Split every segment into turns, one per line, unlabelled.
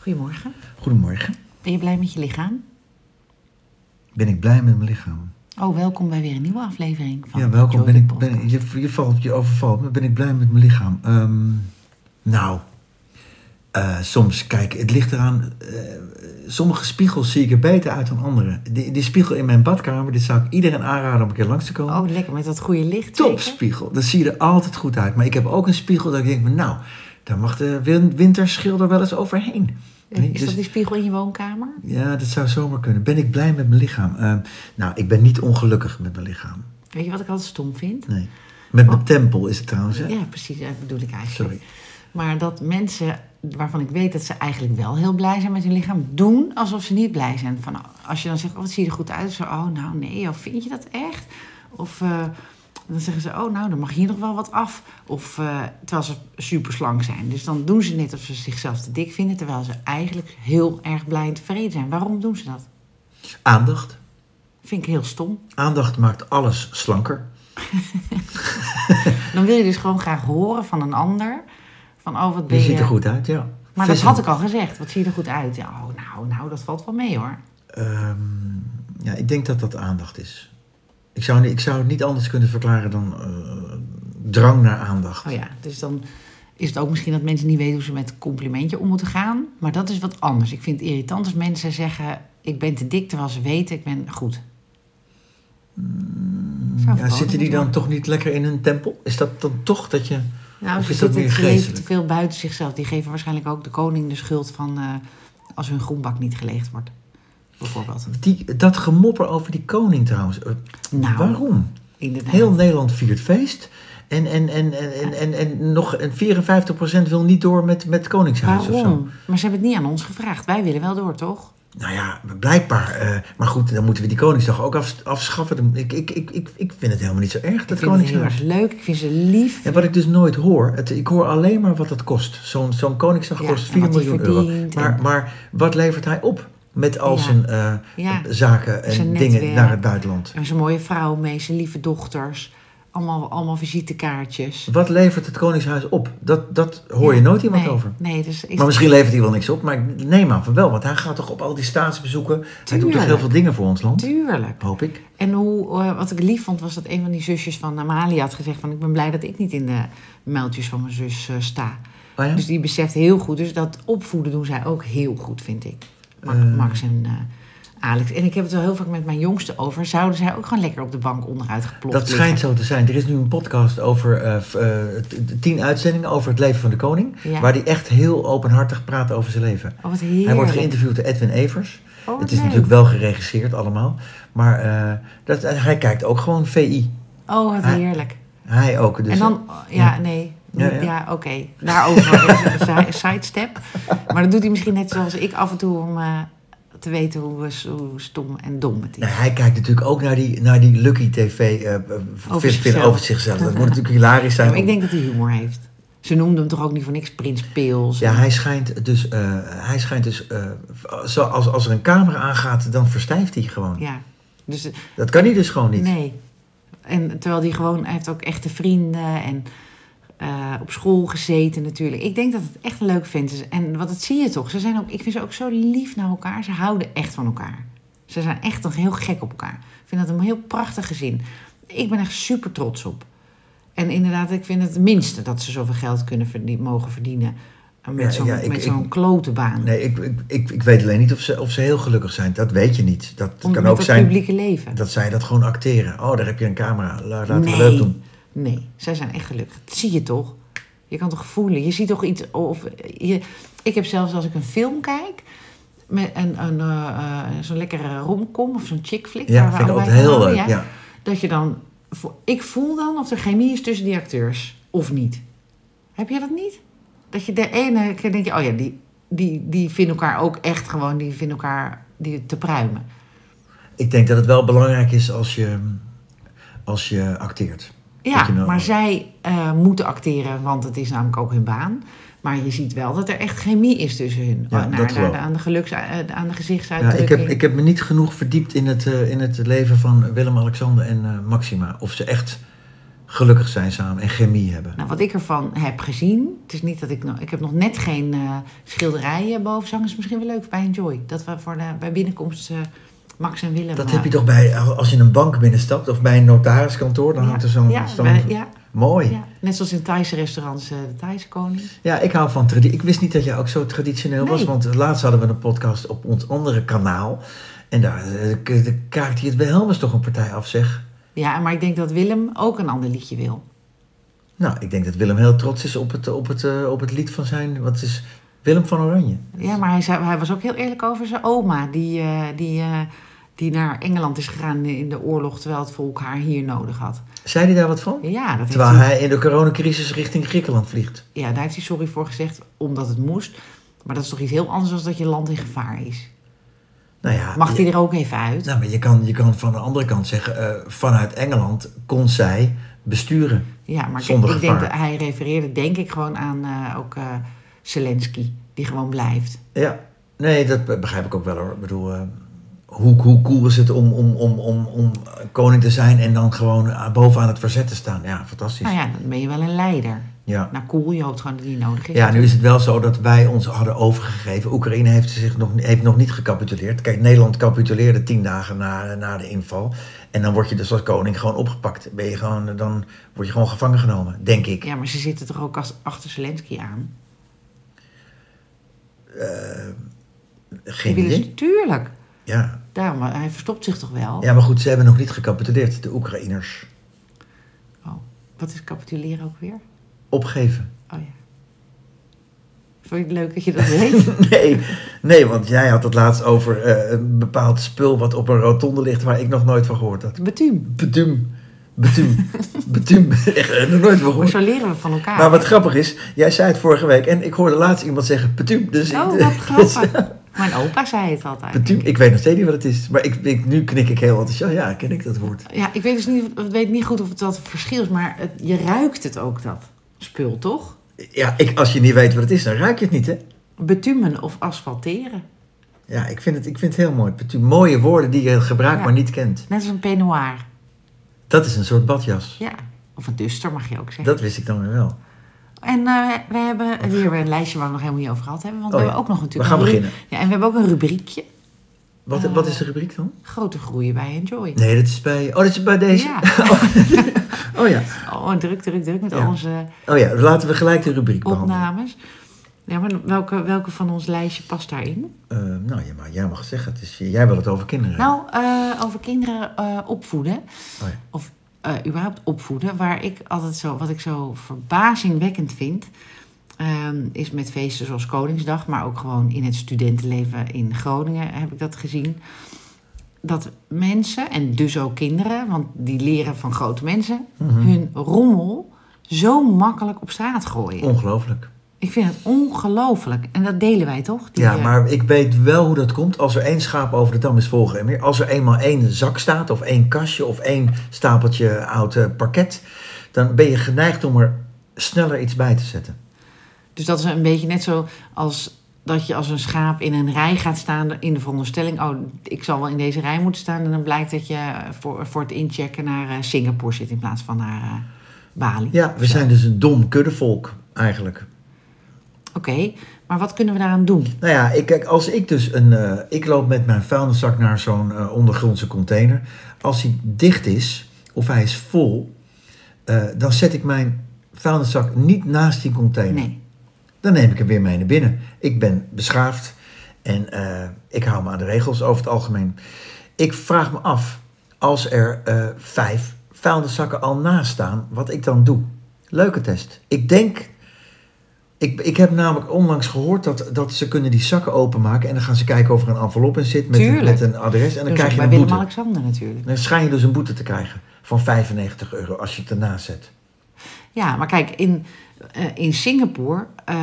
Goedemorgen.
Goedemorgen.
Ben je blij met je lichaam?
Ben ik blij met mijn lichaam?
Oh, welkom bij weer een nieuwe aflevering van
ja, welkom.
Joy
Ben
de
ik,
Ah, Podcast.
ben, je, je, valt, je overvalt me. Ben ik blij met mijn lichaam? Ehm, nou, eh, soms, kijk, het ligt eraan. eh, sommige spiegels zie ik er beter uit dan andere. Die, die spiegel in mijn badkamer, dit zou ik iedereen aanraden om een keer langs te komen.
Oh, lekker met dat goede licht.
Top
zeker?
spiegel. Dan zie je er altijd goed uit. Maar ik heb ook een spiegel dat ik denk, van, nou, daar mag de win- winterschilder wel eens overheen.
Eh,
Nee,
Is
dus-
dat die spiegel in je woonkamer?
Ja, dat zou zomaar kunnen. Ben ik blij met mijn lichaam? Ehm, nou, ik ben niet ongelukkig met mijn lichaam.
Weet je wat ik altijd stom vind?
Nee. Met mijn tempel is het trouwens, hè?
Oh. Ja, precies. Dat bedoel ik eigenlijk.
Sorry.
Maar dat mensen waarvan ik weet dat ze eigenlijk wel heel blij zijn met hun lichaam, doen alsof ze niet blij zijn. Van, als je dan zegt, oh, wat zie je er goed uit? Zo, oh, nou nee, of vind je dat echt? Of eh, dan zeggen ze, oh, nou, dan mag hier nog wel wat af. Of eh, terwijl ze super slank zijn. Dus dan doen ze net of ze zichzelf te dik vinden, terwijl ze eigenlijk heel erg blij en tevreden zijn. Waarom doen ze dat?
Aandacht.
Vind ik heel stom.
Aandacht maakt alles slanker.
Dan wil je dus gewoon graag horen van een ander. Van, oh, wat ben
Je
je...
ziet er goed uit, ja.
Maar dat
Vissen.
had ik al gezegd. Wat zie je er goed uit? Ja, oh, nou, nou, dat valt wel mee hoor.
Ehm, ja, ik denk dat dat aandacht is. Ik zou, ik zou het niet anders kunnen verklaren dan eh, drang naar aandacht.
Oh ja, dus dan is het ook misschien dat mensen niet weten hoe ze met een complimentje om moeten gaan. Maar dat is wat anders. Ik vind het irritant als mensen zeggen: Ik ben te dik, terwijl ze weten ik ben goed. Zou
Hmm, Ja,
verboden
zitten die
moeten
dan
worden.
toch niet lekker in hun tempel? Is dat dan toch dat je...
Nou,
of
ze
is dat
zitten
weer
ze leven te
geestelijk?
veel buiten zichzelf. Die geven waarschijnlijk ook de koning de schuld van eh, als hun groenbak niet geleegd wordt. Bijvoorbeeld.
Die, dat gemopper over die koning trouwens. eh,
Nou,
Waarom?
Inderdaad.
Heel Nederland viert feest. En, en, en, en, en, en, en nog en 54% wil niet door met, met Koningshuis of zo.
Waarom? Maar ze hebben het niet aan ons gevraagd. Wij willen wel door, toch?
Nou ja, blijkbaar. eh, maar goed, dan moeten we die Koningsdag ook af, afschaffen. Dan- Ik, ik, ik, ik, ik vind het helemaal niet zo erg, dat
Ik vind het heel
Koningshuis.
erg leuk. Ik vind ze lief.
En wat ik dus nooit hoor, het, ik hoor alleen maar wat het kost. Zo'n zo'n Koningsdag
Ja,
kost
en
4
wat hij
miljoen euro.
verdient en-
Maar, maar wat levert hij op met al
Ja.
zijn eh,
Ja.
zaken en
Zijn
dingen
netwerk.
naar het buitenland?
En zijn mooie vrouw mee, zijn lieve dochters. Allemaal, allemaal visitekaartjes.
Wat levert het Koningshuis op? Dat, dat hoor je
Ja,
nooit iemand
nee,
over.
Nee, dus is
Maar misschien levert hij wel niks op, maar ik neem aan van wel, want hij gaat toch op al die staatsbezoeken. Hij doet toch
Tuurlijk.
heel veel dingen voor ons land,
Tuurlijk.
hoop ik.
En hoe, eh, wat ik lief vond, was dat een van die zusjes van Amalia had gezegd... van ik ben blij dat ik niet in de muiltjes van mijn zus eh, sta.
Oh ja?
Dus die beseft heel goed. Dus dat opvoeden doen zij ook heel goed, vind ik. Ma- Max en eh, Alex. En ik heb het wel heel vaak met mijn jongste over. Zouden zij ook gewoon lekker op de bank onderuit geploft
Dat schijnt zo te zijn. Er is nu een podcast over eh, f- eh, t- tien uitzendingen over het leven van de koning.
Ja.
Waar hij echt heel openhartig praat over zijn leven.
Oh, wat heerlijk.
Hij wordt geïnterviewd door Edwin Evers.
Oh,
het is
leuk.
natuurlijk wel geregisseerd allemaal. Maar eh, dat, en hij kijkt ook gewoon VI.
Oh, wat
Hij-
heerlijk.
Hij ook. Dus,
en dan, ja, nee.
Ja,
Ja,
ja.
oké. Daarover is een si- sidestep. Maar dat doet hij misschien net zoals ik af en toe om eh, te weten hoe, eh, hoe stom en dom het is.
Nou, hij kijkt natuurlijk ook naar die, naar die Lucky TV eh, eh, film
zichzelf.
over zichzelf. Dat moet natuurlijk hilarisch zijn.
Maar ik
om-
denk dat hij humor heeft. Ze noemden hem toch ook niet voor niks Prins Pils.
Ja, hij schijnt dus, eh, hij schijnt dus eh, zo, als, als er een camera aangaat, dan verstijft hij gewoon.
Ja. Dus eh,
Dat kan hij dus gewoon niet.
nee. En terwijl hij gewoon, hij heeft ook echte vrienden en eh, op school gezeten natuurlijk. Ik denk dat het echt een leuk vent is. En wat dat zie je toch. Ze zijn ook, ik vind ze ook zo lief naar elkaar. Ze houden echt van elkaar. Ze zijn echt nog heel gek op elkaar. Ik vind dat een heel prachtig gezin. Ik ben echt super trots op. En inderdaad, ik vind het het minste dat ze zoveel geld kunnen verdien- mogen verdienen. eh, Met
Ja,
zo'n
ja, ik-
met
ik-
zo'n klote baan.
Nee, ik, ik, ik, ik weet alleen niet of ze, of ze heel gelukkig zijn. Dat weet je niet. Dat
Om-
kan
met
ook
dat
zijn
publieke leven.
dat zij dat gewoon acteren. Oh, daar heb je een camera. La- eh, Laten
nee.
we leuk doen.
Nee, zij zijn echt gelukkig. Dat zie je toch? Je kan toch voelen? Je ziet toch iets. Of je, ik heb zelfs als ik een film kijk. Met een, een, eh, eh, zo'n lekkere romcom of zo'n chick flick.
Ja,
waar we
vind ik ook
allebei van
heel
houden,
leuk, ja.
Dat je dan. vo- Ik voel dan of er chemie is tussen die acteurs of niet. Heb jij dat niet? Dat je de ene keer denk je, oh ja, die, die, die vinden elkaar ook echt gewoon, die vinden elkaar die te pruimen.
Ik denk dat het wel belangrijk is als je, als je acteert.
Ja,
Dat je nou-
maar zij eh, moeten acteren, want het is namelijk ook hun baan. Maar je ziet wel dat er echt chemie is tussen hun.
Ja,
Oh, nou,
dat
daar-
geloof ik.
aan de geluks, eh, aan de
Ja, ik,
gezichtsuitdrukking.
heb, ik heb me niet genoeg verdiept in het, eh, in het leven van Willem-Alexander en eh, Maxima. Of ze echt gelukkig zijn samen en chemie hebben.
Nou, wat ik ervan heb gezien, het is niet dat ik nog, ik heb nog net geen eh, schilderijen boven hangen. Is misschien wel leuk bij Enjoy. Dat we voor de, bij binnenkomst eh, Max en Willem.
Dat
eh,
heb je toch bij, als je in een bank binnenstapt of bij een notariskantoor, dan
ja,
hangt er zo'n...
ja,
zo'n-
bij- ja,
Mooi. Ja.
ja, net zoals in Thaise restaurants, eh, de Thaise koning.
ik hou van traditie. Ik wist niet dat jij ook zo traditioneel was,
Nee.
want laatst hadden we een podcast op ons andere kanaal. En daar eh, k- de- kaakt hij het bij Helmers toch een partij af, zeg.
Ja, maar ik denk dat Willem ook een ander liedje wil.
Nou, ik denk dat Willem heel trots is op het, op het, eh, op het lied van zijn... Wat is Willem van Oranje?
Ja, maar hij, zei, hij was ook heel eerlijk over zijn oma, die, eh, die, eh, die naar Engeland is gegaan in de oorlog, terwijl het volk haar hier nodig had.
Zei hij daar wat van?
Ja, dat heeft
Terwijl
hij-
hij in de coronacrisis richting Griekenland vliegt.
ja, daar heeft hij sorry voor gezegd, omdat het moest. Maar dat is toch iets heel anders dan dat je land in gevaar is.
Nou ja,
Mag hij er ook even uit?
Nou, maar je kan, je kan van de andere kant zeggen, eh, vanuit Engeland kon zij besturen.
Ja, maar kijk,
Zonder
ik denk
gevaar.
dat hij refereerde, denk ik, gewoon aan eh, ook eh, Zelensky, die gewoon blijft.
Ja, nee, dat be- begrijp ik ook wel hoor. Ik bedoel, eh, hoe, hoe cool is het om, om, om, om, om koning te zijn en dan gewoon eh, bovenaan het verzet te staan? Ja, fantastisch.
Nou
ja.
ja, dan ben je wel een leider.
Ja.
Nou, cool, je hoopt gewoon dat die nodig is.
nu is het wel zo dat wij ons hadden overgegeven. Oekraïne heeft, zich nog, heeft nog niet gecapituleerd. Kijk, Nederland capituleerde tien dagen na, na de inval. En dan word je dus als koning gewoon opgepakt. Ben je gewoon, eh, dan word je gewoon gevangen genomen, denk ik.
Ja, maar ze zitten toch ook als- achter Zelensky aan? Die
Geen
willen
idee.
ze, tuurlijk.
Ja,
Daarom, maar hij verstopt zich toch wel?
Ja, maar goed, ze hebben nog niet gecapituleerd, de Oekraïners.
Oh, wat is capituleren ook weer?
Opgeven.
Oh ja. Vond je het leuk dat je dat weet?
Nee, nee, want jij had het laatst over eh, een bepaald spul wat op een rotonde ligt waar ik nog nooit van gehoord had.
Betum.
Betum. Betum. Betum. Echt, eh, nog nooit van
Maar
gehoord.
zo leren we van elkaar.
Maar wat grappig is, jij zei het vorige week en ik hoorde laatst iemand zeggen betum. Dus
Oh,
ik,
wat grappig. Mijn opa zei het altijd.
Betum. Ik weet nog steeds niet wat het is, maar ik, ik, nu knik ik heel enthousiast. Ja, ken ik dat woord.
Ja, ik weet dus niet, ik weet niet goed of het dat verschil is, maar het- je ruikt het ook, dat spul, toch?
Ja, ik, als je niet weet wat het is, dan raak je het niet, hè?
Betumen of asfalteren.
Ja, ik vind het, ik vind het heel mooi. Betum. Mooie woorden die je gebruikt,
Ja.
maar niet kent.
Net als een peignoir.
Dat is een soort badjas.
Ja, of een duster mag je ook zeggen.
Dat wist ik dan weer wel.
En eh, we hebben hier weer een lijstje waar we nog helemaal niet over gehad hebben. Want
Oh
we
ja.
hebben ook nog natuurlijk...
We gaan
een ru-
beginnen.
Ja, en we hebben ook een rubriekje.
Wat,
Oh.
wat is de rubriek dan?
Grote groeien bij Enjoy.
Nee, dat is bij. Oh, dat is bij deze.
Ja.
Oh ja.
Oh, druk, druk, druk met
Ja.
al onze
Oh ja, laten we gelijk de rubriek behandelen.
opnames. Ja, maar welke, welke van ons lijstje past daarin?
Eh, nou ja, maar jij mag zeggen. Het is, jij wil het over kinderen. hebben.
Nou, eh, over kinderen eh, opvoeden.
Oh ja.
Of eh, überhaupt opvoeden. Waar ik altijd zo, wat ik zo verbazingwekkend vind. ehm, is met feesten zoals Koningsdag, maar ook gewoon in het studentenleven in Groningen heb ik dat gezien. Dat mensen, en dus ook kinderen, want die leren van grote mensen,
Mhm.
hun rommel zo makkelijk op straat gooien.
Ongelooflijk.
Ik vind het ongelooflijk. En dat delen wij toch? Die,
Ja,
eh,
maar ik weet wel hoe dat komt. Als er één schaap over de dam is volgen en meer. Als er eenmaal één zak staat, of één kastje, of één stapeltje oud eh, parket. dan ben je geneigd om er sneller iets bij te zetten.
Dus dat is een beetje net zo als dat je als een schaap in een rij gaat staan in de veronderstelling, oh, ik zal wel in deze rij moeten staan. En dan blijkt dat je voor, voor het inchecken naar eh, Singapore zit in plaats van naar eh, Bali.
Ja, we zijn dus een dom kuddevolk, eigenlijk.
Oké, maar wat kunnen we daaraan doen?
Nou ja, ik, kijk, als ik dus een. eh, ik loop met mijn vuilniszak naar zo'n eh, ondergrondse container. Als hij dicht is, of hij is vol, eh, dan zet ik mijn vuilniszak niet naast die container.
Nee.
Dan neem ik hem weer mee naar binnen. Ik ben beschaafd en eh, ik hou me aan de regels over het algemeen. Ik vraag me af, als er eh, vijf vuilniszakken al naast staan, wat ik dan doe. Leuke test. Ik denk, ik, ik heb namelijk onlangs gehoord dat, dat ze kunnen die zakken openmaken en dan gaan ze kijken of er een envelop in zit met, een,
Tuurlijk.
met een adres en dan
Dus
krijg
ook
je
bij
een boete.
Willem-Alexander natuurlijk.
Dan schijn je dus een boete te krijgen van 95 euro als je het ernaast zet.
Ja, maar kijk, in, eh, in Singapore eh,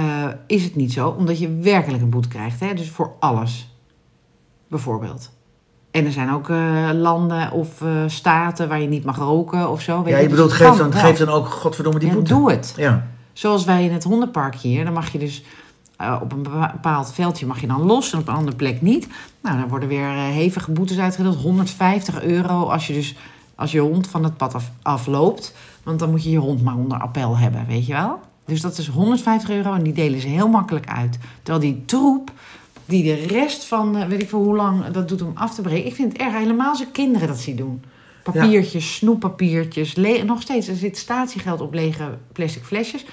is het niet zo, omdat je werkelijk een boete krijgt. Hè? Dus voor alles, bijvoorbeeld. En er zijn ook eh, landen of eh, staten waar je niet mag roken of zo. Weet
Ja, je
dus
bedoelt,
het
geef
kan
dan,
wel.
geef dan ook godverdomme die
Ja,
boete.
doe het.
Ja.
Zoals wij in het hondenpark hier, dan mag je dus eh, op een bepa- bepaald veldje mag je dan los en op een andere plek niet. Nou, dan worden weer eh, hevige boetes uitgedeeld. 150 euro als je dus als je hond van het pad af, afloopt. Want dan moet je je hond maar onder appel hebben, weet je wel? Dus dat is 150 euro en die delen ze heel makkelijk uit. Terwijl die troep, die de rest van, eh, weet ik veel hoe lang, dat doet om af te breken. Ik vind het erg, helemaal als ik kinderen dat zie doen. Papiertjes, snoeppapiertjes, le- nog steeds, er zit statiegeld op lege plastic flesjes.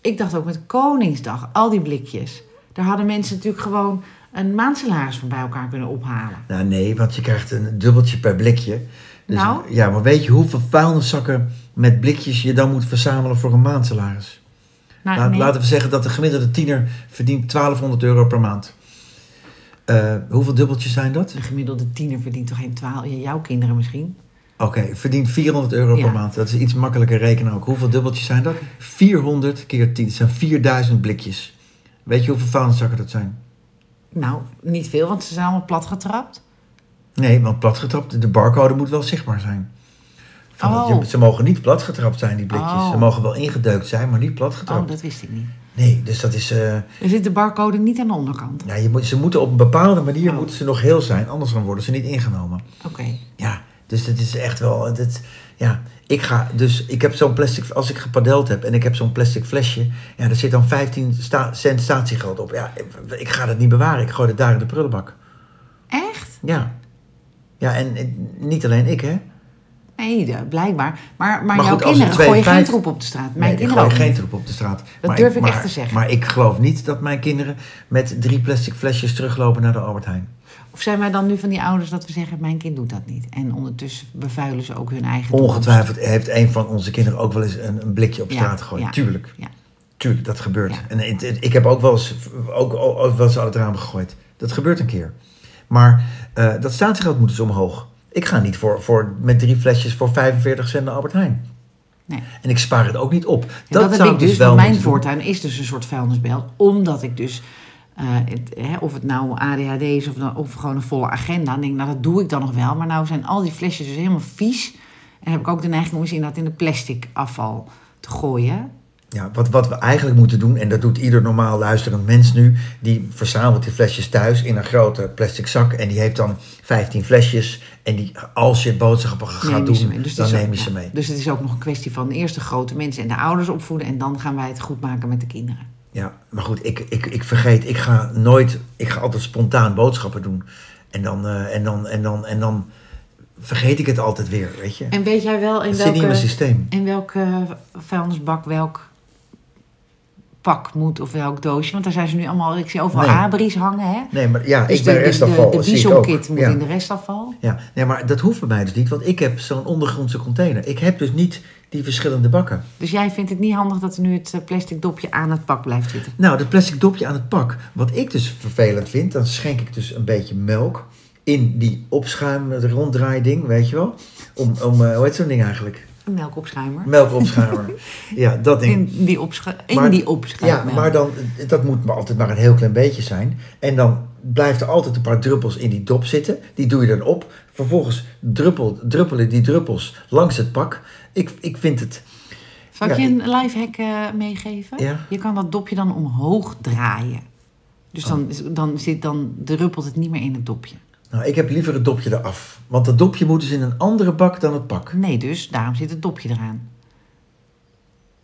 Ik dacht ook met Koningsdag, al die blikjes. Daar hadden mensen natuurlijk gewoon een maandsalaris van bij elkaar kunnen ophalen.
Nou nee, want je krijgt een dubbeltje per blikje. Dus,
Nou?
Ja, maar weet je hoeveel vuilniszakken met blikjes je dan moet verzamelen voor een maandsalaris?
Nou,
Laat-
nee.
Laten we zeggen dat de gemiddelde tiener verdient 1200 euro per maand. Eh, hoeveel dubbeltjes zijn dat?
Een gemiddelde tiener verdient toch geen twaalf? Jouw kinderen misschien?
Oké, verdient 400 euro
Ja.
per maand. Dat is iets makkelijker rekenen ook. Hoeveel dubbeltjes zijn dat? 400 keer 10. Dat zijn 4000 blikjes. Weet je hoeveel vuilniszakken dat zijn?
Nou, niet veel, want ze zijn allemaal plat getrapt.
Nee, want platgetrapt, de barcode moet wel zichtbaar zijn. Van dat-
Oh.
je- ze mogen niet platgetrapt zijn, die blikjes.
Oh.
Ze mogen wel ingedeukt zijn, maar niet platgetrapt.
Oh, dat wist ik niet.
Nee, dus dat is... eh,
Er zit de barcode niet aan de onderkant.
nou, je moet, ze moeten op een bepaalde manier
Oh.
moeten ze nog heel zijn. Anders dan worden ze niet ingenomen.
Oké.
Ja, dus dat is echt wel... Dat, ja, ik ga... Dus ik heb zo'n plastic... Als ik gepadeld heb en ik heb zo'n plastic flesje... Ja, daar zit dan 15 sta- cent statiegeld op. Ja, ik, ik ga dat niet bewaren. Ik gooi het daar in de prullenbak.
Echt?
Ja. Ja, en eh, niet alleen ik, hè.
Nee, de- blijkbaar. Maar, maar,
Maar
jouw
goed, als
kinderen
het twee
gooien geen
vijf-
troep op de straat. Mijn
Nee, ik
kinderen
gooi
ook
geen
niet.
troep op de straat.
Dat durf ik
maar,
echt te zeggen.
Maar ik geloof niet dat mijn kinderen met drie plastic flesjes teruglopen naar de Albert Heijn.
Of zijn wij dan nu van die ouders dat we zeggen, mijn kind doet dat niet. En ondertussen bevuilen ze ook hun eigen toekomst.
Ongetwijfeld heeft een van onze kinderen ook wel eens een, een blikje op
Ja,
straat gegooid.
ja.
Tuurlijk,
Ja.
tuurlijk, dat gebeurt.
Ja.
En het- het- ik heb ook wel eens, ook, ook, ook wel eens uit het raam gegooid. Dat gebeurt een keer. Maar eh, dat statiegeld moet dus omhoog. Ik ga niet voor, voor, met drie flesjes voor 45 cent naar Albert Heijn.
Nee.
En ik spaar het ook niet op. Dat,
En dat,
zou
heb ik dus,
wel
want mijn
moeten doen.
voortuin is dus een soort vuilnisbelt. Omdat ik dus, eh, het, hè, of het nou ADHD is of, dan- of gewoon een volle agenda. Dan denk ik, nou dat doe ik dan nog wel. Maar nou zijn al die flesjes dus helemaal vies. En heb ik ook de neiging om eens inderdaad in de plastic afval te gooien.
Ja, wat, wat we eigenlijk moeten doen, en dat doet ieder normaal luisterend mens nu, die verzamelt die flesjes thuis in een grote plastic zak en die heeft dan 15 flesjes. En die, als je boodschappen gaat
Neem je ze
doen,
mee. Dus het
dan
is ook-
neem je ze
ja.
mee.
Dus het is ook nog een kwestie van eerst de grote mensen en de ouders opvoeden. En dan gaan wij het goed maken met de kinderen.
Ja, maar goed, ik, ik, ik vergeet, ik ga nooit, ik ga altijd spontaan boodschappen doen. En dan, eh, en dan, en dan, en dan vergeet ik het altijd weer, weet je.
En weet jij wel in
Het zit niet in mijn
welke,
systeem.
in welke vuilnisbak welk pak moet of welk doosje? Want daar zijn ze nu allemaal, ik zie overal
Nee.
abris hangen hè?
Nee, maar ja,
Dus
ik ben restafval,
de, de
dat zie ik ook.
bisonkit moet
Ja.
in de restafval.
Ja, nee, maar dat hoeft bij mij dus niet, want ik heb zo'n ondergrondse container. Ik heb dus niet die verschillende bakken.
Dus jij vindt het niet handig dat er nu het eh, plastic dopje aan het pak blijft zitten?
Nou, dat plastic dopje aan het pak. Wat ik dus vervelend vind, dan schenk ik dus een beetje melk in die opschuim, het ronddraaiding, weet je wel. Om, om eh, hoe heet zo'n ding eigenlijk?
Een melkopschuimer.
Melkopschuimer. ja, dat ding.
In die, opschu in
Maar-
die opschuimer.
Ja, maar dan, dat moet maar altijd maar een heel klein beetje zijn. En dan blijft er altijd een paar druppels in die dop zitten. Die doe je dan op. Vervolgens druppel, druppelen die druppels langs het pak. Ik, ik vind het...
Zal ik
Ja,
je een lifehack eh meegeven?
Ja.
Je kan dat dopje dan omhoog draaien. Dus
Oh.
dan, is- dan, zit, dan druppelt het niet meer in het dopje.
Nou, ik heb liever het dopje eraf. Want dat dopje moet dus in een andere bak dan het pak.
Nee, dus daarom zit het dopje eraan.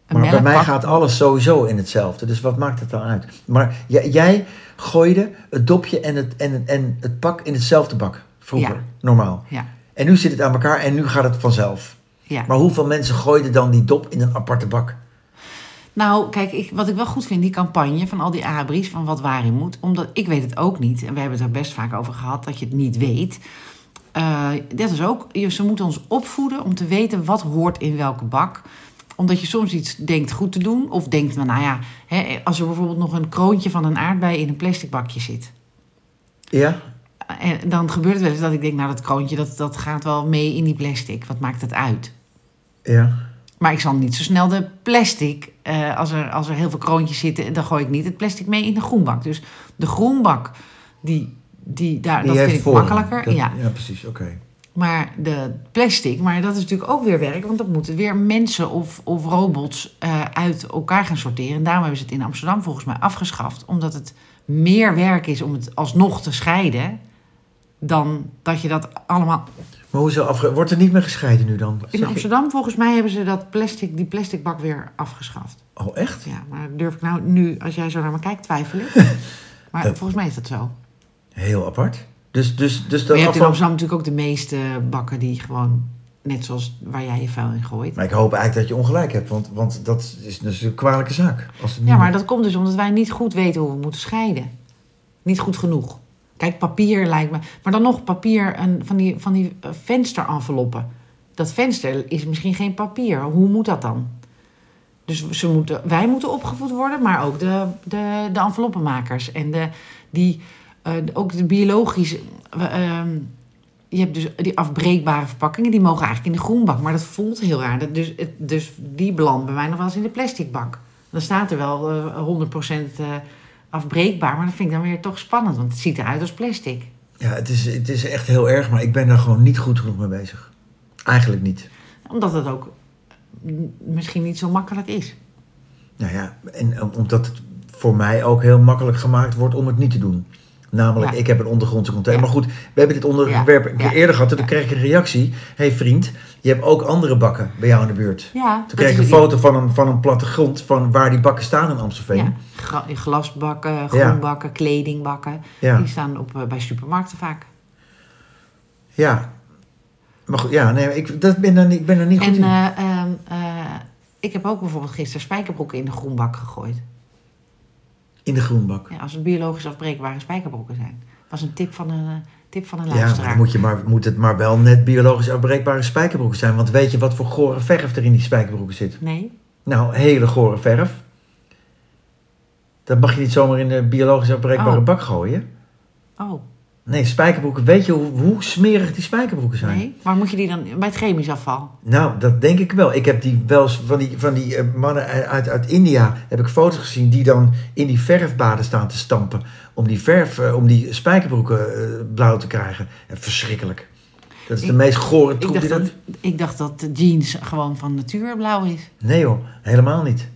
Een
Maar bij mij
melkpak-
gaat alles sowieso in hetzelfde. Dus wat maakt het dan uit? Maar jij, jij gooide het dopje en het, en, het- en het pak in hetzelfde bak. Vroeger,
Ja.
normaal.
Ja,
En nu zit het aan elkaar en nu gaat het vanzelf.
ja.
Maar hoeveel mensen gooiden dan die dop in een aparte bak?
Nou, kijk, ik, wat ik wel goed vind, die campagne van al die abris, van wat waarin moet. Omdat ik weet het ook niet. En we hebben het er best vaak over gehad, dat je het niet weet. Eh, dat is ook, je- ze moeten ons opvoeden om te weten wat hoort in welke bak. Omdat je soms iets denkt goed te doen. Of denkt, nou, nou ja, hè, als er bijvoorbeeld nog een kroontje van een aardbei in een plastic bakje zit.
Ja?
En dan gebeurt het wel eens dat ik denk, nou dat kroontje, dat, dat gaat wel mee in die plastic. Wat maakt het uit?
Ja.
Maar ik zal niet zo snel de plastic, eh, als, er, als er heel veel kroontjes zitten, dan gooi ik niet het plastic mee in de groenbak. Dus de groenbak, die, die, daar,
Die
dat
heeft
vind ik
voorrang.
makkelijker.
Dat-
ja.
ja, precies. Oké.
Maar de plastic, maar dat is natuurlijk ook weer werk, want dat moeten weer mensen of, of robots eh, uit elkaar gaan sorteren. En daarom hebben ze het in Amsterdam volgens mij afgeschaft, omdat het meer werk is om het alsnog te scheiden dan dat je dat allemaal
Maar hoezo afge... Wordt er niet meer gescheiden nu dan?
In Amsterdam, volgens mij, hebben ze dat plastic, die plastic bak weer afgeschaft.
Oh, echt?
Ja, maar durf ik nou nu, als jij zo naar me kijkt, twijfel ik. Maar
Dat-
volgens mij is dat zo.
Heel apart. Dus, dus, dus
Maar
dat
je hebt in
afval...
Amsterdam natuurlijk ook de meeste bakken die gewoon, net zoals waar jij je vuil in gooit.
Maar ik hoop eigenlijk dat je ongelijk hebt, want, want dat is dus een kwalijke zaak. Als het
Ja,
niet-
maar dat komt dus omdat wij niet goed weten hoe we moeten scheiden. Niet goed genoeg. Kijk, papier lijkt me. Maar dan nog papier een, van die, van die eh, vensterenveloppen. Dat venster is misschien geen papier. Hoe moet dat dan? Dus ze moeten, wij moeten opgevoed worden, maar ook de, de, de enveloppenmakers. En de, die, eh, ook de biologische. eh, ehm, je hebt dus die afbreekbare verpakkingen, die mogen eigenlijk in de groenbak. Maar dat voelt heel raar. Dat, dus, het- dus die belandt bij mij nog wel eens in de plastic bak. Dan staat er wel eh, 100% eh, afbreekbaar, maar dat vind ik dan weer toch spannend, want het ziet eruit als plastic.
ja het, is, het is echt heel erg, maar ik ben daar gewoon niet goed genoeg mee bezig. Eigenlijk niet.
Omdat het ook mm, misschien niet zo makkelijk is.
Nou ja, en om- omdat het voor mij ook heel makkelijk gemaakt wordt om het niet te doen. Namelijk,
Ja.
ik heb een ondergrondse container.
Ja.
Maar goed, we hebben dit onderwerp
Ja.
een keer
Ja.
eerder gehad. En toen
Ja.
kreeg ik een reactie. hey vriend, je hebt ook andere bakken bij jou in de buurt.
Ja,
Toen kreeg ik een foto van een, van een plattegrond van waar die bakken staan in Amstelveen.
Ja, gra- glasbakken, groenbakken, kledingbakken.
Ja.
Die staan op, eh, bij supermarkten vaak.
Ja. Maar goed, ja, nee, ik, dat ben daar, niet- ik ben daar niet
En
goed in.
eh, ehm, eh, ik heb ook bijvoorbeeld gisteren spijkerbroeken in de groenbak gegooid.
in de groenbak.
Ja, als het biologisch afbreekbare spijkerbroeken zijn. was een tip van een, eh, tip van een
Ja, maar
luisteraar.
dan moet, je maar, moet het maar wel net biologisch afbreekbare spijkerbroeken zijn. Want weet je wat voor gore verf er in die spijkerbroeken zit?
Nee?
Nou, hele gore verf. Dat mag je niet zomaar in de biologisch afbreekbare
Oh.
bak gooien.
Oh,
Nee, spijkerbroeken. Weet je hoe, hoe smerig die spijkerbroeken zijn?
nee? Maar moet je die dan bij het chemisch afval?
Nou, dat denk ik wel. Ik heb die wel eens van die, van die eh, mannen uit, uit India heb ik foto's gezien die dan in die verfbaden staan te stampen om die verf, eh, om die spijkerbroeken eh, blauw te krijgen. En verschrikkelijk. Dat is de
Ik-
meest gore
Ik
troep die
dacht,
dat.
dat, ik dacht dat de jeans gewoon van natuur blauw is.
Nee joh, helemaal niet.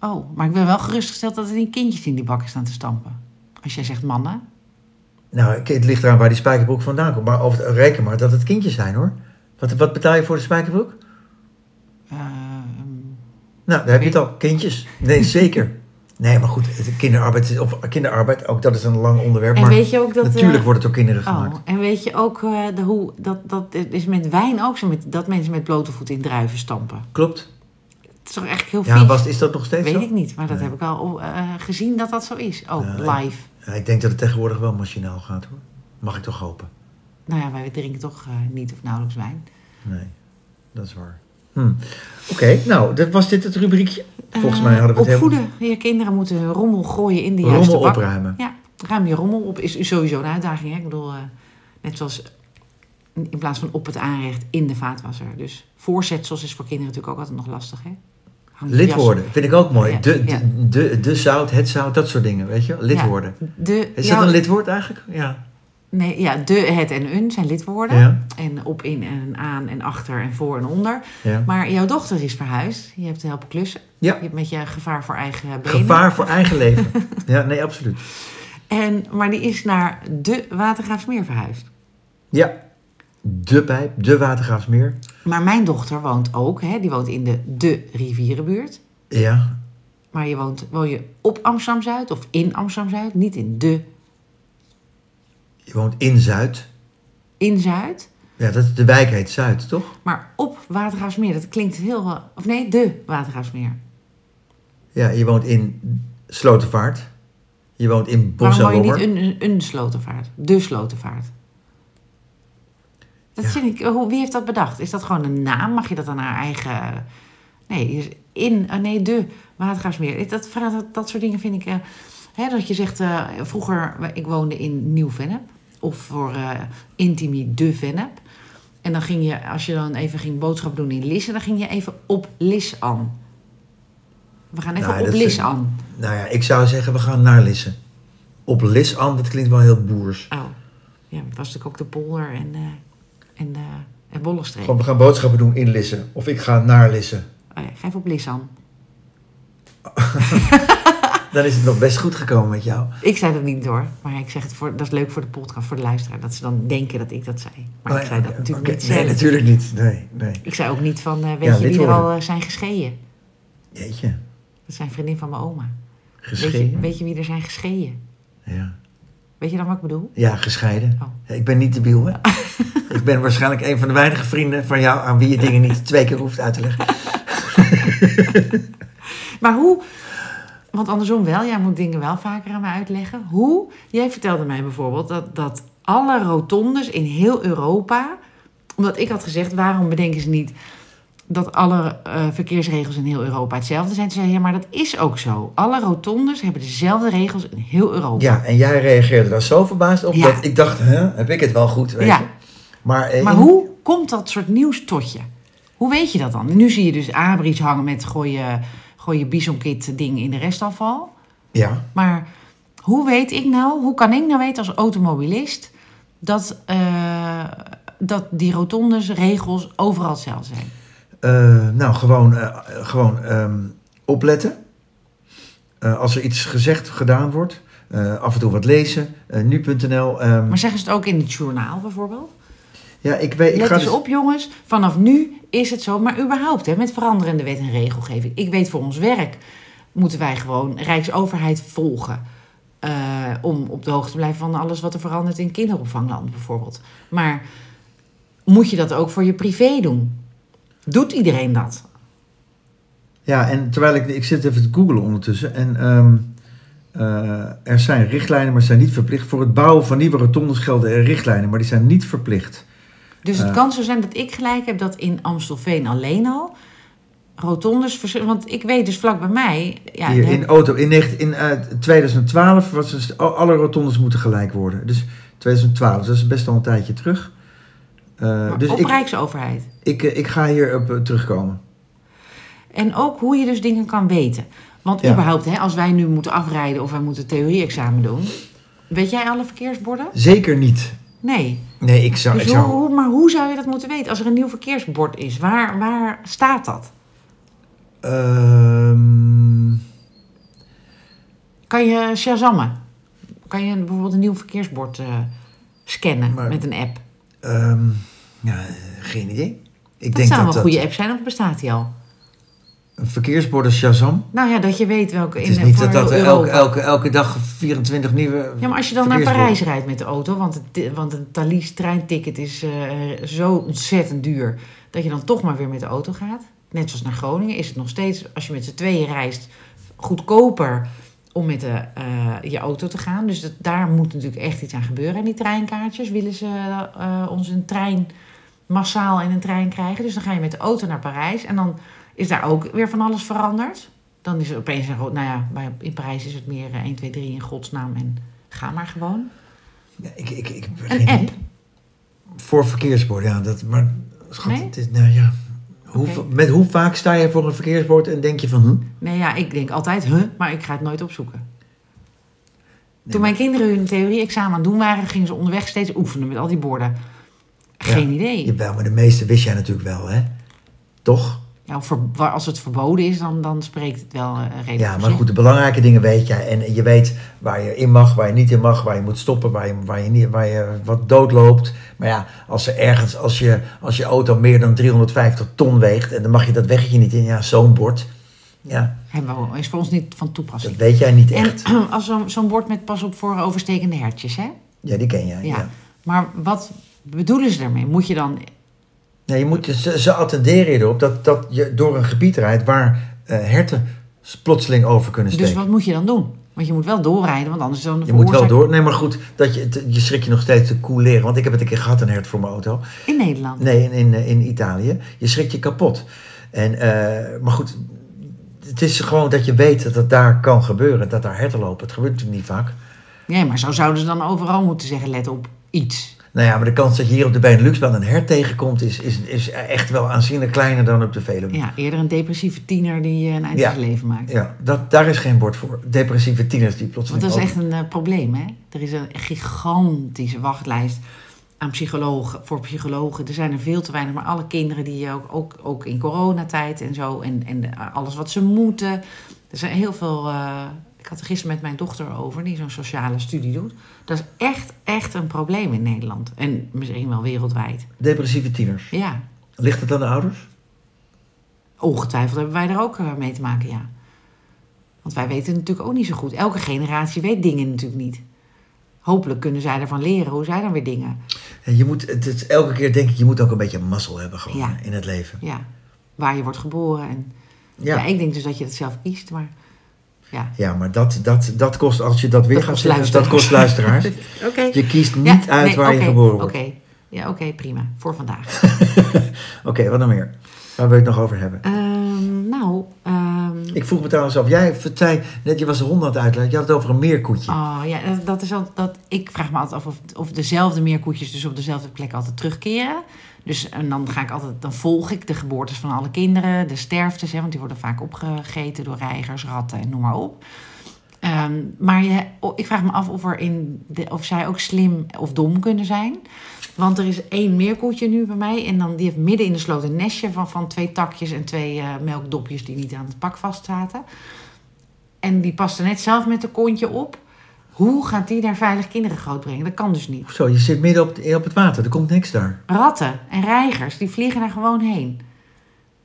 Oh, maar ik ben wel gerustgesteld dat er niet kindjes in die bakken staan te stampen. Als jij zegt mannen.
Nou, ik- het ligt eraan waar die spijkerbroek vandaan komt, maar of het, reken maar dat het kindjes zijn hoor. Wat, wat betaal je voor de spijkerbroek?
eh,
Nou, daar heb je het al. Kindjes. Nee, zeker. Nee, maar goed, het- kinderarbeid, is- of kinderarbeid, ook dat is een lang onderwerp.
en
maar
weet je ook dat... eh,
natuurlijk wordt het door
Oh,
kinderen gemaakt.
en weet je ook eh, de, hoe... Dat, dat is met wijn ook zo, met, dat mensen met blote voeten in druiven stampen.
Klopt.
Het is toch echt heel vies?
Ja, was, is dat nog steeds
Weet
zo?
ik niet, maar dat
Nee.
heb ik al eh, gezien dat dat zo is. Ook
Nee.
live.
Ja, ik denk dat het tegenwoordig wel machinaal gaat hoor. Mag ik toch hopen?
Nou ja, wij drinken toch eh, niet of nauwelijks wijn.
Nee, dat is waar. Hm. Oké, nou, dat was dit het rubriekje? Volgens
Eh,
mij hadden we het
Opvoeden. Je kinderen moeten hun rommel gooien in de
helemaal
juiste
rommel
bak.
opruimen.
Ja, ruim je rommel op is sowieso een uitdaging. Hè? Ik bedoel, eh, net zoals in plaats van op het aanrecht in de vaatwasser. Dus voorzetsels is voor kinderen natuurlijk ook altijd nog lastig. Hè? Hang je jas-
Lidwoorden vind ik ook mooi.
Ja,
De,
ja.
de, de, de zout, het zout, dat soort dingen, weet je? Lidwoorden.
De,
Is
jouw-
dat een lidwoord eigenlijk? Ja.
Nee, ja, de, het en een zijn lidwoorden.
Ja.
En op, in en aan en achter en voor en onder.
ja.
Maar jouw dochter is verhuisd. Je hebt te helpen klussen.
Ja.
Je hebt met je gevaar voor eigen benen.
Gevaar voor eigen leven. Ja, nee, absoluut.
En, maar die is naar de Watergraafsmeer verhuisd.
Ja. De pijp, de Watergraafsmeer.
Maar mijn dochter woont ook. Hè, die woont in de de rivierenbuurt.
Ja.
Maar je woont, woon je op Amsterdam-Zuid of in Amsterdam-Zuid. Niet in de
Je woont in Zuid.
in Zuid.
Ja, dat is de wijk heet Zuid, toch?
Maar op Watergraafsmeer. Dat klinkt heel... eh, Of nee, de Watergraafsmeer.
Ja, je woont in Slotenvaart. Je woont in Bos en
Waarom woon je
Lommer.
niet een, een, een slotenvaart? De slotenvaart. Dat
Ja.
vind ik, hoe- wie heeft dat bedacht? Is dat gewoon een naam? Mag je dat aan haar eigen... Nee, hier is in, eh, nee de Watergraafsmeer. Dat, vra- dat, dat soort dingen vind ik... eh, hè, dat je zegt, eh, vroeger, ik woonde in Nieuw-Vennep. Of voor eh, Intimi de Vennep. En dan ging je, als je dan even ging boodschap doen in Lisse... dan ging je even op Lis aan. We gaan even
Nou,
op
dat
Lis
vind ik-
aan.
Nou ja, ik zou zeggen, we gaan naar Lissen. Op Lissan, dat klinkt wel heel boers.
Oh, ja, het was natuurlijk ook de polder en, eh en, eh en Bollestreek.
Gewoon, we gaan boodschappen doen in Lissen. Of ik ga naar Lissen.
Oh ja, ga even op Lissan.
Dan is het nog best goed gekomen met jou.
Ik zei dat niet hoor, maar ik zeg het voor, dat is leuk voor de podcast, voor de luisteraar, dat ze dan denken dat ik dat zei. Maar ik
Oh,
zei dat
oké,
natuurlijk
oké.
niet zelf.
Nee, natuurlijk niet. Nee, nee.
Ik zei ook niet van, eh, weet
Ja,
je
lid
wie er
worden.
al eh, zijn gescheiden?
Jeetje.
Dat zijn vriendin van mijn oma. Weet je,
Gescheiden.
weet je wie er zijn gescheiden?
Ja.
Weet je dan wat ik bedoel?
ja, gescheiden.
Oh.
Ik ben niet debiel, hè? ik ben waarschijnlijk een van de weinige vrienden van jou aan wie je dingen niet twee keer hoeft uit te leggen.
Maar hoe, want andersom wel, jij moet dingen wel vaker aan mij uitleggen. Hoe, jij vertelde mij bijvoorbeeld dat, dat alle rotondes in heel Europa, omdat ik had gezegd, waarom bedenken ze niet dat alle eh, verkeersregels in heel Europa hetzelfde zijn? Toen zei je, ja, maar dat is ook zo. Alle rotondes hebben dezelfde regels in heel Europa.
Ja, en jij reageerde daar zo verbaasd op
Ja.
dat ik dacht, hè, heb ik het wel goed, weet
Ja.
je. Maar, eh,
Maar
in-
hoe komt dat soort nieuws tot je? Hoe weet je dat dan? Nu zie je dus abris hangen met gooi je, gooi je bisonkit ding in de restafval.
Ja,
Maar hoe weet ik nou, hoe kan ik nou weten als automobilist dat, eh, dat die rotondes, regels overal hetzelfde zijn?
eh, nou, gewoon, eh, gewoon ehm, opletten. Eh, als er iets gezegd, gedaan wordt. eh, af en toe wat lezen. eh, nu.nl. ehm,
Maar zeggen ze het ook in het journaal bijvoorbeeld?
ja, ik weet... Ik
Let
ga
eens
dus,
op jongens, vanaf nu is het zo. Maar überhaupt, hè, met veranderende wet en regelgeving. Ik weet voor ons werk moeten wij gewoon Rijksoverheid volgen. eh, om op de hoogte te blijven van alles wat er verandert in kinderopvangland bijvoorbeeld. Maar moet je dat ook voor je privé doen? Doet iedereen dat?
Ja, en terwijl ik... Ik zit even te googlen ondertussen. En ehm, eh, er zijn richtlijnen, maar ze zijn niet verplicht. Voor het bouwen van nieuwe rotondes gelden er richtlijnen, maar die zijn niet verplicht.
Dus het
Eh.
kan zo zijn dat ik gelijk heb dat in Amstelveen alleen al rotondes verschillen. Want ik weet dus vlak bij mij. Ja,
Hier,
daar
in auto. In, negen- in eh, 2012 was dus al- alle rotondes moeten gelijk worden. Dus 2012, dat is best al een tijdje terug. Eh,
maar
dus
op
ik,
Rijksoverheid.
ik, eh, ik ga hierop eh, terugkomen.
En ook hoe je dus dingen kan weten. Want
Ja.
überhaupt, hè, als wij nu moeten afrijden of wij moeten theorie-examen doen. Weet jij alle verkeersborden?
Zeker niet.
Nee.
Nee, ik zou...
Dus
Ik
hoe,
zou
hoe- maar hoe zou je dat moeten weten als er een nieuw verkeersbord is? Waar, waar staat dat?
Ehm,
Kan je shazammen? Kan je bijvoorbeeld een nieuw verkeersbord eh, scannen
Maar-
met een app?
ehm, ja, eh, geen idee. Ik
Dat zou
denk dat
wel een
dat
goede app zijn, of bestaat die al?
een verkeersborden Shazam.
Nou ja, dat je weet welke
Het
in
is
de
niet
voor
dat dat
heel
er elke,
Europa.
elke, elke dag 24 nieuwe
Ja, maar als je dan naar
verkeersborden-
Parijs rijdt met de auto, want, het, want een Thalys treinticket is eh, zo ontzettend duur, dat je dan toch maar weer met de auto gaat. Net zoals naar Groningen is het nog steeds, als je met z'n tweeën reist, goedkoper om met de, eh, je auto te gaan. Dus dat, daar moet natuurlijk echt iets aan gebeuren. En die treinkaartjes willen ze eh, ons een trein massaal in een trein krijgen. Dus dan ga je met de auto naar Parijs en dan is daar ook weer van alles veranderd. Dan is er opeens een groot, nou ja, bij- in Parijs is het meer eh, 1, 2, 3 in godsnaam en ga maar gewoon.
Ja, ik, ik, ik, geen
Een
idee.
app.
Voor verkeersborden, ja. Dat, maar schat,
Nee?
het is, nou ja. Hoe,
Oké.
Met hoe vaak sta je voor een verkeersbord en denk je van... Hm? Nee,
Nee ja, ik denk altijd, huh, maar ik ga het nooit opzoeken. Toen
maar-
mijn kinderen hun theorie-examen aan het doen waren, gingen ze onderweg steeds oefenen met al die borden. Geen idee.
Jawel, maar de meeste wist jij natuurlijk wel, hè? Toch?
Ja, of ver- waar- als het verboden is, dan, dan spreekt het wel eh, redelijk.
Ja,
voor
maar
zich.
goed, de belangrijke dingen weet jij. En je weet waar je in mag, waar je niet in mag, waar je moet stoppen, waar je, waar je, niet, waar je wat doodloopt. Maar ja, als er ergens, als je, als je auto meer dan 350 ton weegt en dan mag je dat weggetje niet in, ja, zo'n bord. Ja,
Hebben we, is voor ons niet van
dat
toepassing.
weet jij niet echt.
En als zo'n zo'n bord met pas op voor overstekende hertjes, hè?
Ja, die ken jij.
Ja.
ja.
Maar wat bedoelen ze daarmee? Moet je dan...
Nee, je moet, ze, ze attenderen je erop dat, dat je door een gebied rijdt waar eh, herten s- plotseling over kunnen steken.
Dus wat moet je dan doen? Want je moet wel doorrijden, want anders is dan de
je moet wel
veroorzaak-
door. Nee, maar goed, dat je, het- je schrik je nog steeds te koe leren. Want ik heb het een keer gehad, een hert voor mijn auto.
In Nederland.
Nee, in, in, eh, in Italië. Je schrik je kapot. En, eh, maar goed, het is gewoon dat je weet dat het daar kan gebeuren. Dat daar herten lopen. Het gebeurt natuurlijk niet vaak.
Nee, maar zo zouden ze dan overal moeten zeggen, let op iets.
Nou ja, maar de kans dat je hier op de Benelux wel een hert tegenkomt... is, is, is echt wel aanzienlijk kleiner dan op de Veluwe.
Ja, eerder een depressieve tiener die eh, een eind
Ja.
aan zijn leven maakt.
Ja, dat, daar is geen bord voor. Depressieve tieners die
Want
plotseling...
dat is
ook-
echt een eh, probleem, hè? Er is een gigantische wachtlijst aan psychologen, voor psychologen. Er zijn er veel te weinig, maar alle kinderen die ook, ook, ook in coronatijd en zo... en, en alles wat ze moeten. Er zijn heel veel eh, Ik had er gisteren met mijn dochter over, die zo'n sociale studie doet. Dat is echt, echt een probleem in Nederland. En misschien wel wereldwijd.
Depressieve tieners.
Ja,
Ligt het aan de ouders?
ongetwijfeld hebben wij er ook eh, mee te maken, ja. Want wij weten natuurlijk ook niet zo goed. Elke generatie weet dingen natuurlijk niet. Hopelijk kunnen zij ervan leren hoe zij dan weer dingen.
En je moet, het is elke keer denk ik, je moet ook een beetje mazzel hebben gewoon
Ja.
in het leven.
Ja, waar je wordt geboren. En, ja.
Ja, ja,
ik denk dus dat je het zelf kiest, maar ja.
maar dat, dat, dat kost, als je dat weer
Dat
gaat
kost
zeggen, dat kost luisteraars.
Oké.
je kiest niet
Ja,
uit
nee,
waar je
oké,
geboren wordt.
Oké, ja, oké, prima. Voor vandaag.
Oké, wat dan meer? Waar wil je het nog over hebben?
Ehm, nou, ehm,
Ik vroeg me trouwens af, jij vertelde net, je was de hond aan het uitlaten, je had het over een meerkoetje.
oh, ja, dat- dat is al, dat, ik vraag me altijd af of, of dezelfde meerkoetjes dus op dezelfde plek altijd terugkeren. Dus en dan, ga ik altijd, dan volg ik de geboortes van alle kinderen, de sterftes, hè, want die worden vaak opgegeten door reigers, ratten en noem maar op. Ehm, maar je, oh, ik vraag me af of, er in de, of zij ook slim of dom kunnen zijn. Want er is één meerkoetje nu bij mij. En dan, die heeft midden in de sloot een nestje van, van twee takjes en twee eh, melkdopjes die niet aan het pak vast zaten. En die past er net zelf met een kontje op. Hoe gaat die daar veilig kinderen grootbrengen? Dat kan dus niet.
Zo, je zit midden op, het- op het water, er komt niks daar.
Ratten en reigers, die vliegen daar gewoon heen.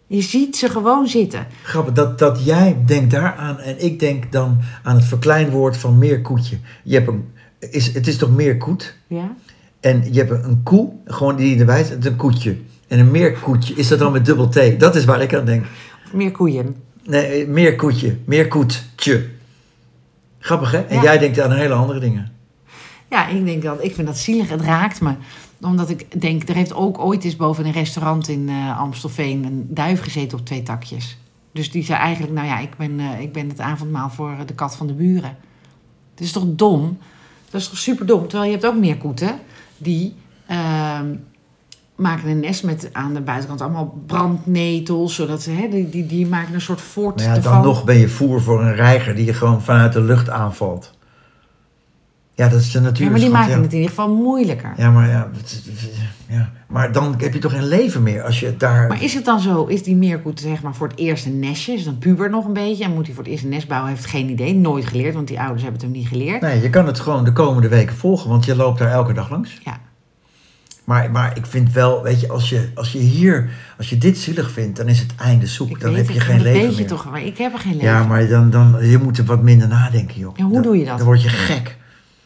Je ziet ze gewoon zitten.
Grappig, dat, dat jij denkt daaraan en ik denk dan aan het verkleinwoord van meerkoetje. Je hebt een, is, het is toch meerkoet?
Ja?
En je hebt een- een koe, gewoon die erbij is, het is een koetje. En een meerkoetje, is dat dan met dubbel T? Dat is waar ik aan denk.
Of meer koeien.
Nee, meerkoetje, meerkoetje. Grappig hè? En
Ja.
jij denkt aan hele andere dingen.
Ja, ik denk dat. Ik vind dat zielig. Het raakt me. Omdat ik denk, er heeft ook ooit eens boven een restaurant in eh, Amstelveen een duif gezeten op twee takjes. Dus die zei eigenlijk, nou ja, ik ben, eh, ik ben het avondmaal voor eh, de kat van de buren. Dat is toch dom? Dat is toch super dom? Terwijl je hebt ook meer koeten die ehm, maken een nest met aan de buitenkant allemaal brandnetels. Zodat ze, hè, die, die, die maken een soort voort
Maar Nou ja, dan
ervan.
nog ben je voer voor een reiger die je gewoon vanuit de lucht aanvalt. Ja, dat is de natuur.
ja, maar die
schat,
maken
ja.
het in ieder geval moeilijker.
Ja, maar ja, het is- ja. Maar dan heb je toch geen leven meer als je het daar...
Maar is het dan zo, is die meerkoet zeg maar voor het eerst een nestje? Is het een puber nog een beetje? En moet hij voor het eerst een nest bouwen? Heeft geen idee, nooit geleerd, want die ouders hebben het hem niet geleerd.
Nee, je kan het gewoon de komende weken volgen, want je loopt daar elke dag langs.
Ja,
Maar, maar ik vind wel, weet je als, je, als je hier, als je dit zielig vindt, dan is het einde zoek.
ik
dan
weet
heb je
het,
geen
maar dat
leven
weet je
meer.
toch, maar ik heb er geen leven.
Ja, maar dan, dan, je moet er wat minder nadenken, joh.
Ja, hoe
Dan-
doe je dat?
Dan word je gek.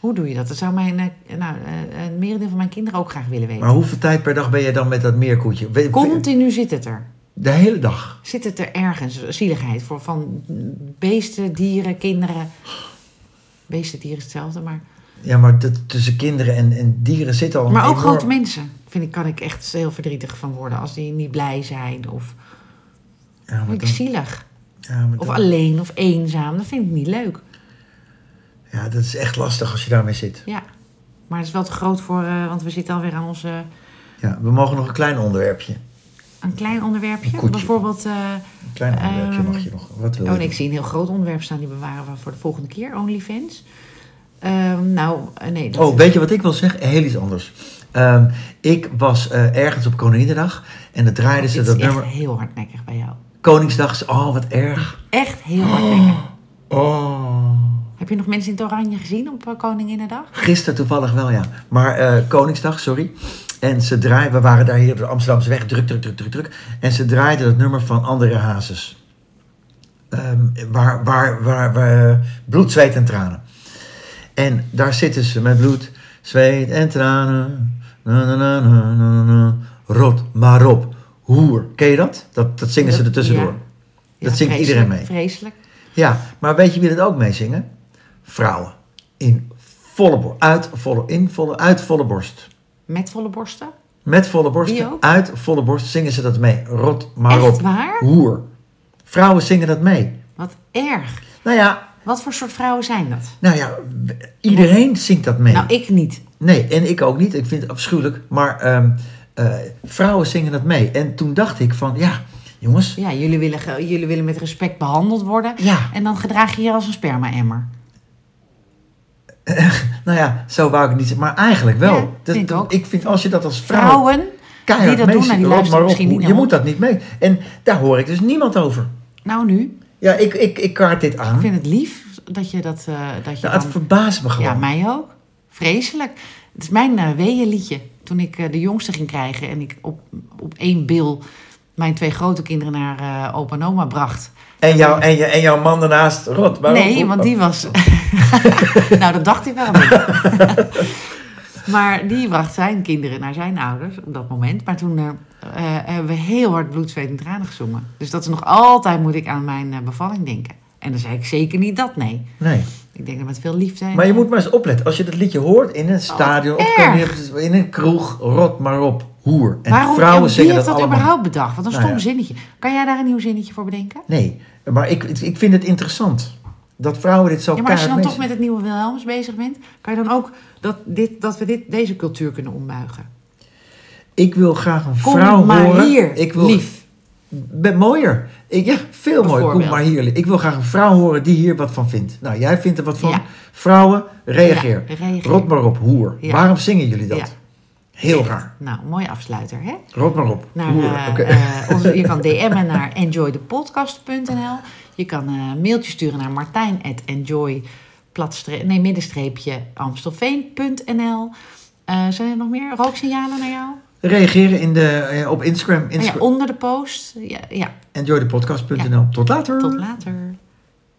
Hoe doe je dat? Dat zou mijn, eh, nou, eh, een merendeel van mijn kinderen ook graag willen weten.
Maar hoeveel tijd per dag ben je dan met dat meerkoetje? We- we-
Continu zit het er.
De hele dag.
Zit het er ergens, zieligheid, voor van beesten, dieren, kinderen. Beesten, dieren is hetzelfde, maar...
Ja, maar dat, tussen kinderen en, en dieren zit al een
Maar ook
enorm-
grote mensen, vind ik, kan ik echt heel verdrietig van worden. Als die niet blij zijn of...
Ja, maar
Vind ik
dan,
zielig.
ja, maar
Of
dan-
alleen of eenzaam, dat vind ik niet leuk.
ja, dat is echt lastig als je daarmee zit.
Ja. Maar het is wel te groot voor, eh, want we zitten alweer aan ons eh,
Ja, we mogen nog een klein onderwerpje.
een klein onderwerpje.
Een koetje.
Bijvoorbeeld, eh,
Een klein
Ehm,
onderwerpje mag je nog. Wat wil
oh
je?
nee, ik zie een heel groot onderwerp staan, die bewaren we voor de volgende keer, OnlyFans. Ehm, nou, eh, nee. Dat,
Oh, weet je wat ik wil zeggen? Heel iets anders. Ehm, ik was eh, ergens op Koninginnedag en dan draaiden
dit
ze
is
dat
echt
nummer.
heel hardnekkig bij jou.
Koningsdag. Oh, wat erg.
Echt heel hardnekkig.
Oh.
Heb je nog mensen in het oranje gezien op eh, Koninginnedag?
Gisteren toevallig wel, ja. Maar eh, Koningsdag, sorry. En ze draaiden, we waren daar hier op de Amsterdamse weg, druk, druk, druk, druk, druk. En ze draaiden het nummer van André Hazes. Ehm, waar, waar, waar, waar, eh, bloed, zweet en tranen. En daar zitten ze met bloed, zweet en tranen. Na, na, na, na, na, na. Rot maar op, hoer. Ken je dat? Dat, dat zingen ze
Dat-
er tussendoor.
ja.
Dat zingt iedereen mee.
Vreselijk.
Ja, maar weet je wie dat ook meezingen? Vrouwen. In volle borst. Uit volle, in volle, uit volle borst.
Met volle borsten?
Met volle
Wie
borst.
ook?
Uit volle borst zingen ze dat mee. Rot maar
Echt
op.
waar?
Hoer. Vrouwen zingen dat mee.
Wat erg.
Nou ja,
Wat voor soort vrouwen zijn dat?
nou ja w- iedereen zingt dat mee.
Nou, ik niet.
Nee, en ik ook niet. Ik vind het afschuwelijk. Maar ehm, eh, vrouwen zingen dat mee. En toen dacht ik van, ja, jongens.
Ja, jullie willen, ge- jullie willen met respect behandeld worden.
Ja.
En dan gedraag je je als een sperma-emmer.
Nou ja, zo wou ik het niet zeggen. Maar eigenlijk wel.
Ja, vind ik ook.
ik vind als je dat als vrouw
Vrouwen die
keihard
dat doen, nou, die
meezingen. Rot
luisteren
maar op,
misschien
hoe-
niet
je
naar
moet
ons.
dat niet mee. En daar hoor ik dus niemand over.
Nou nu,
Ja, ik, ik, ik kaart dit
ik
aan.
vind het lief. dat je dat... eh, dat je
Nou, het
dan-
verbaast me gewoon.
Ja, mij ook. Vreselijk. Het is mijn eh weeënliedje. Toen ik eh, de jongste ging krijgen en ik op, op één bil mijn twee grote kinderen naar eh opa en oma bracht.
en, jou, en, je, en jouw man daarnaast, rot. waarom-
nee, want die was... nou, dat dacht ik wel. maar die bracht zijn kinderen naar zijn ouders op dat moment. Maar toen eh, eh, hebben we heel hard bloed, zweet en tranen gezongen. Dus dat is nog altijd, moet ik aan mijn eh, bevalling denken. En dan zei ik zeker niet dat, nee.
Nee.
Ik denk dat met veel liefde... en- eh,
Maar je moet maar eens opletten. Als je dat liedje hoort in een stadion, op,
Oh, erg.
in een kroeg, rot maar op. Hoer. En
Waarom,
vrouwen
en wie
zeggen dat
heeft dat,
allemaal.
überhaupt bedacht? Wat een
Nou
stom
ja.
zinnetje. Kan jij daar een nieuw zinnetje voor bedenken?
Nee, maar ik, ik- ik vind het interessant. Dat vrouwen dit zo
Ja, maar als je dan
keihard
toch met het nieuwe Wilhelms bezig bent, kan je dan ook dat, dit, dat we dit, deze cultuur kunnen ombuigen.
mensen- Ik wil graag een
Kom
vrouw
maar
horen.
hier,
ik wil,
lief.
Ben mooier. Ik, ja, veel mooier. Kom
Bijvoorbeeld.
maar hier. lief. Ik wil graag een vrouw horen die hier wat van vindt. Nou, jij vindt er wat van.
Ja.
Vrouwen, reageer.
Ja, reageer.
Rot maar op, hoer.
Ja.
Waarom zingen jullie dat?
Ja.
Heel
Echt.
raar.
Nou, mooie afsluiter, hè?
Rot maar op,
Naar,
hoer.
eh,
Oké.
eh, onze, je kan DM'en naar enjoythepodcast.nl. Je kan eh, een mailtje sturen naar martijn.enjoy nee, middenstreepje amstelveen.nl. Eh, zijn er nog meer rooksignalen naar jou?
Reageren in de, eh, op Instagram.
Oh
Insta-
ja, onder de post. Ja, ja.
enjoythepodcast.nl. Tot later.
tot later.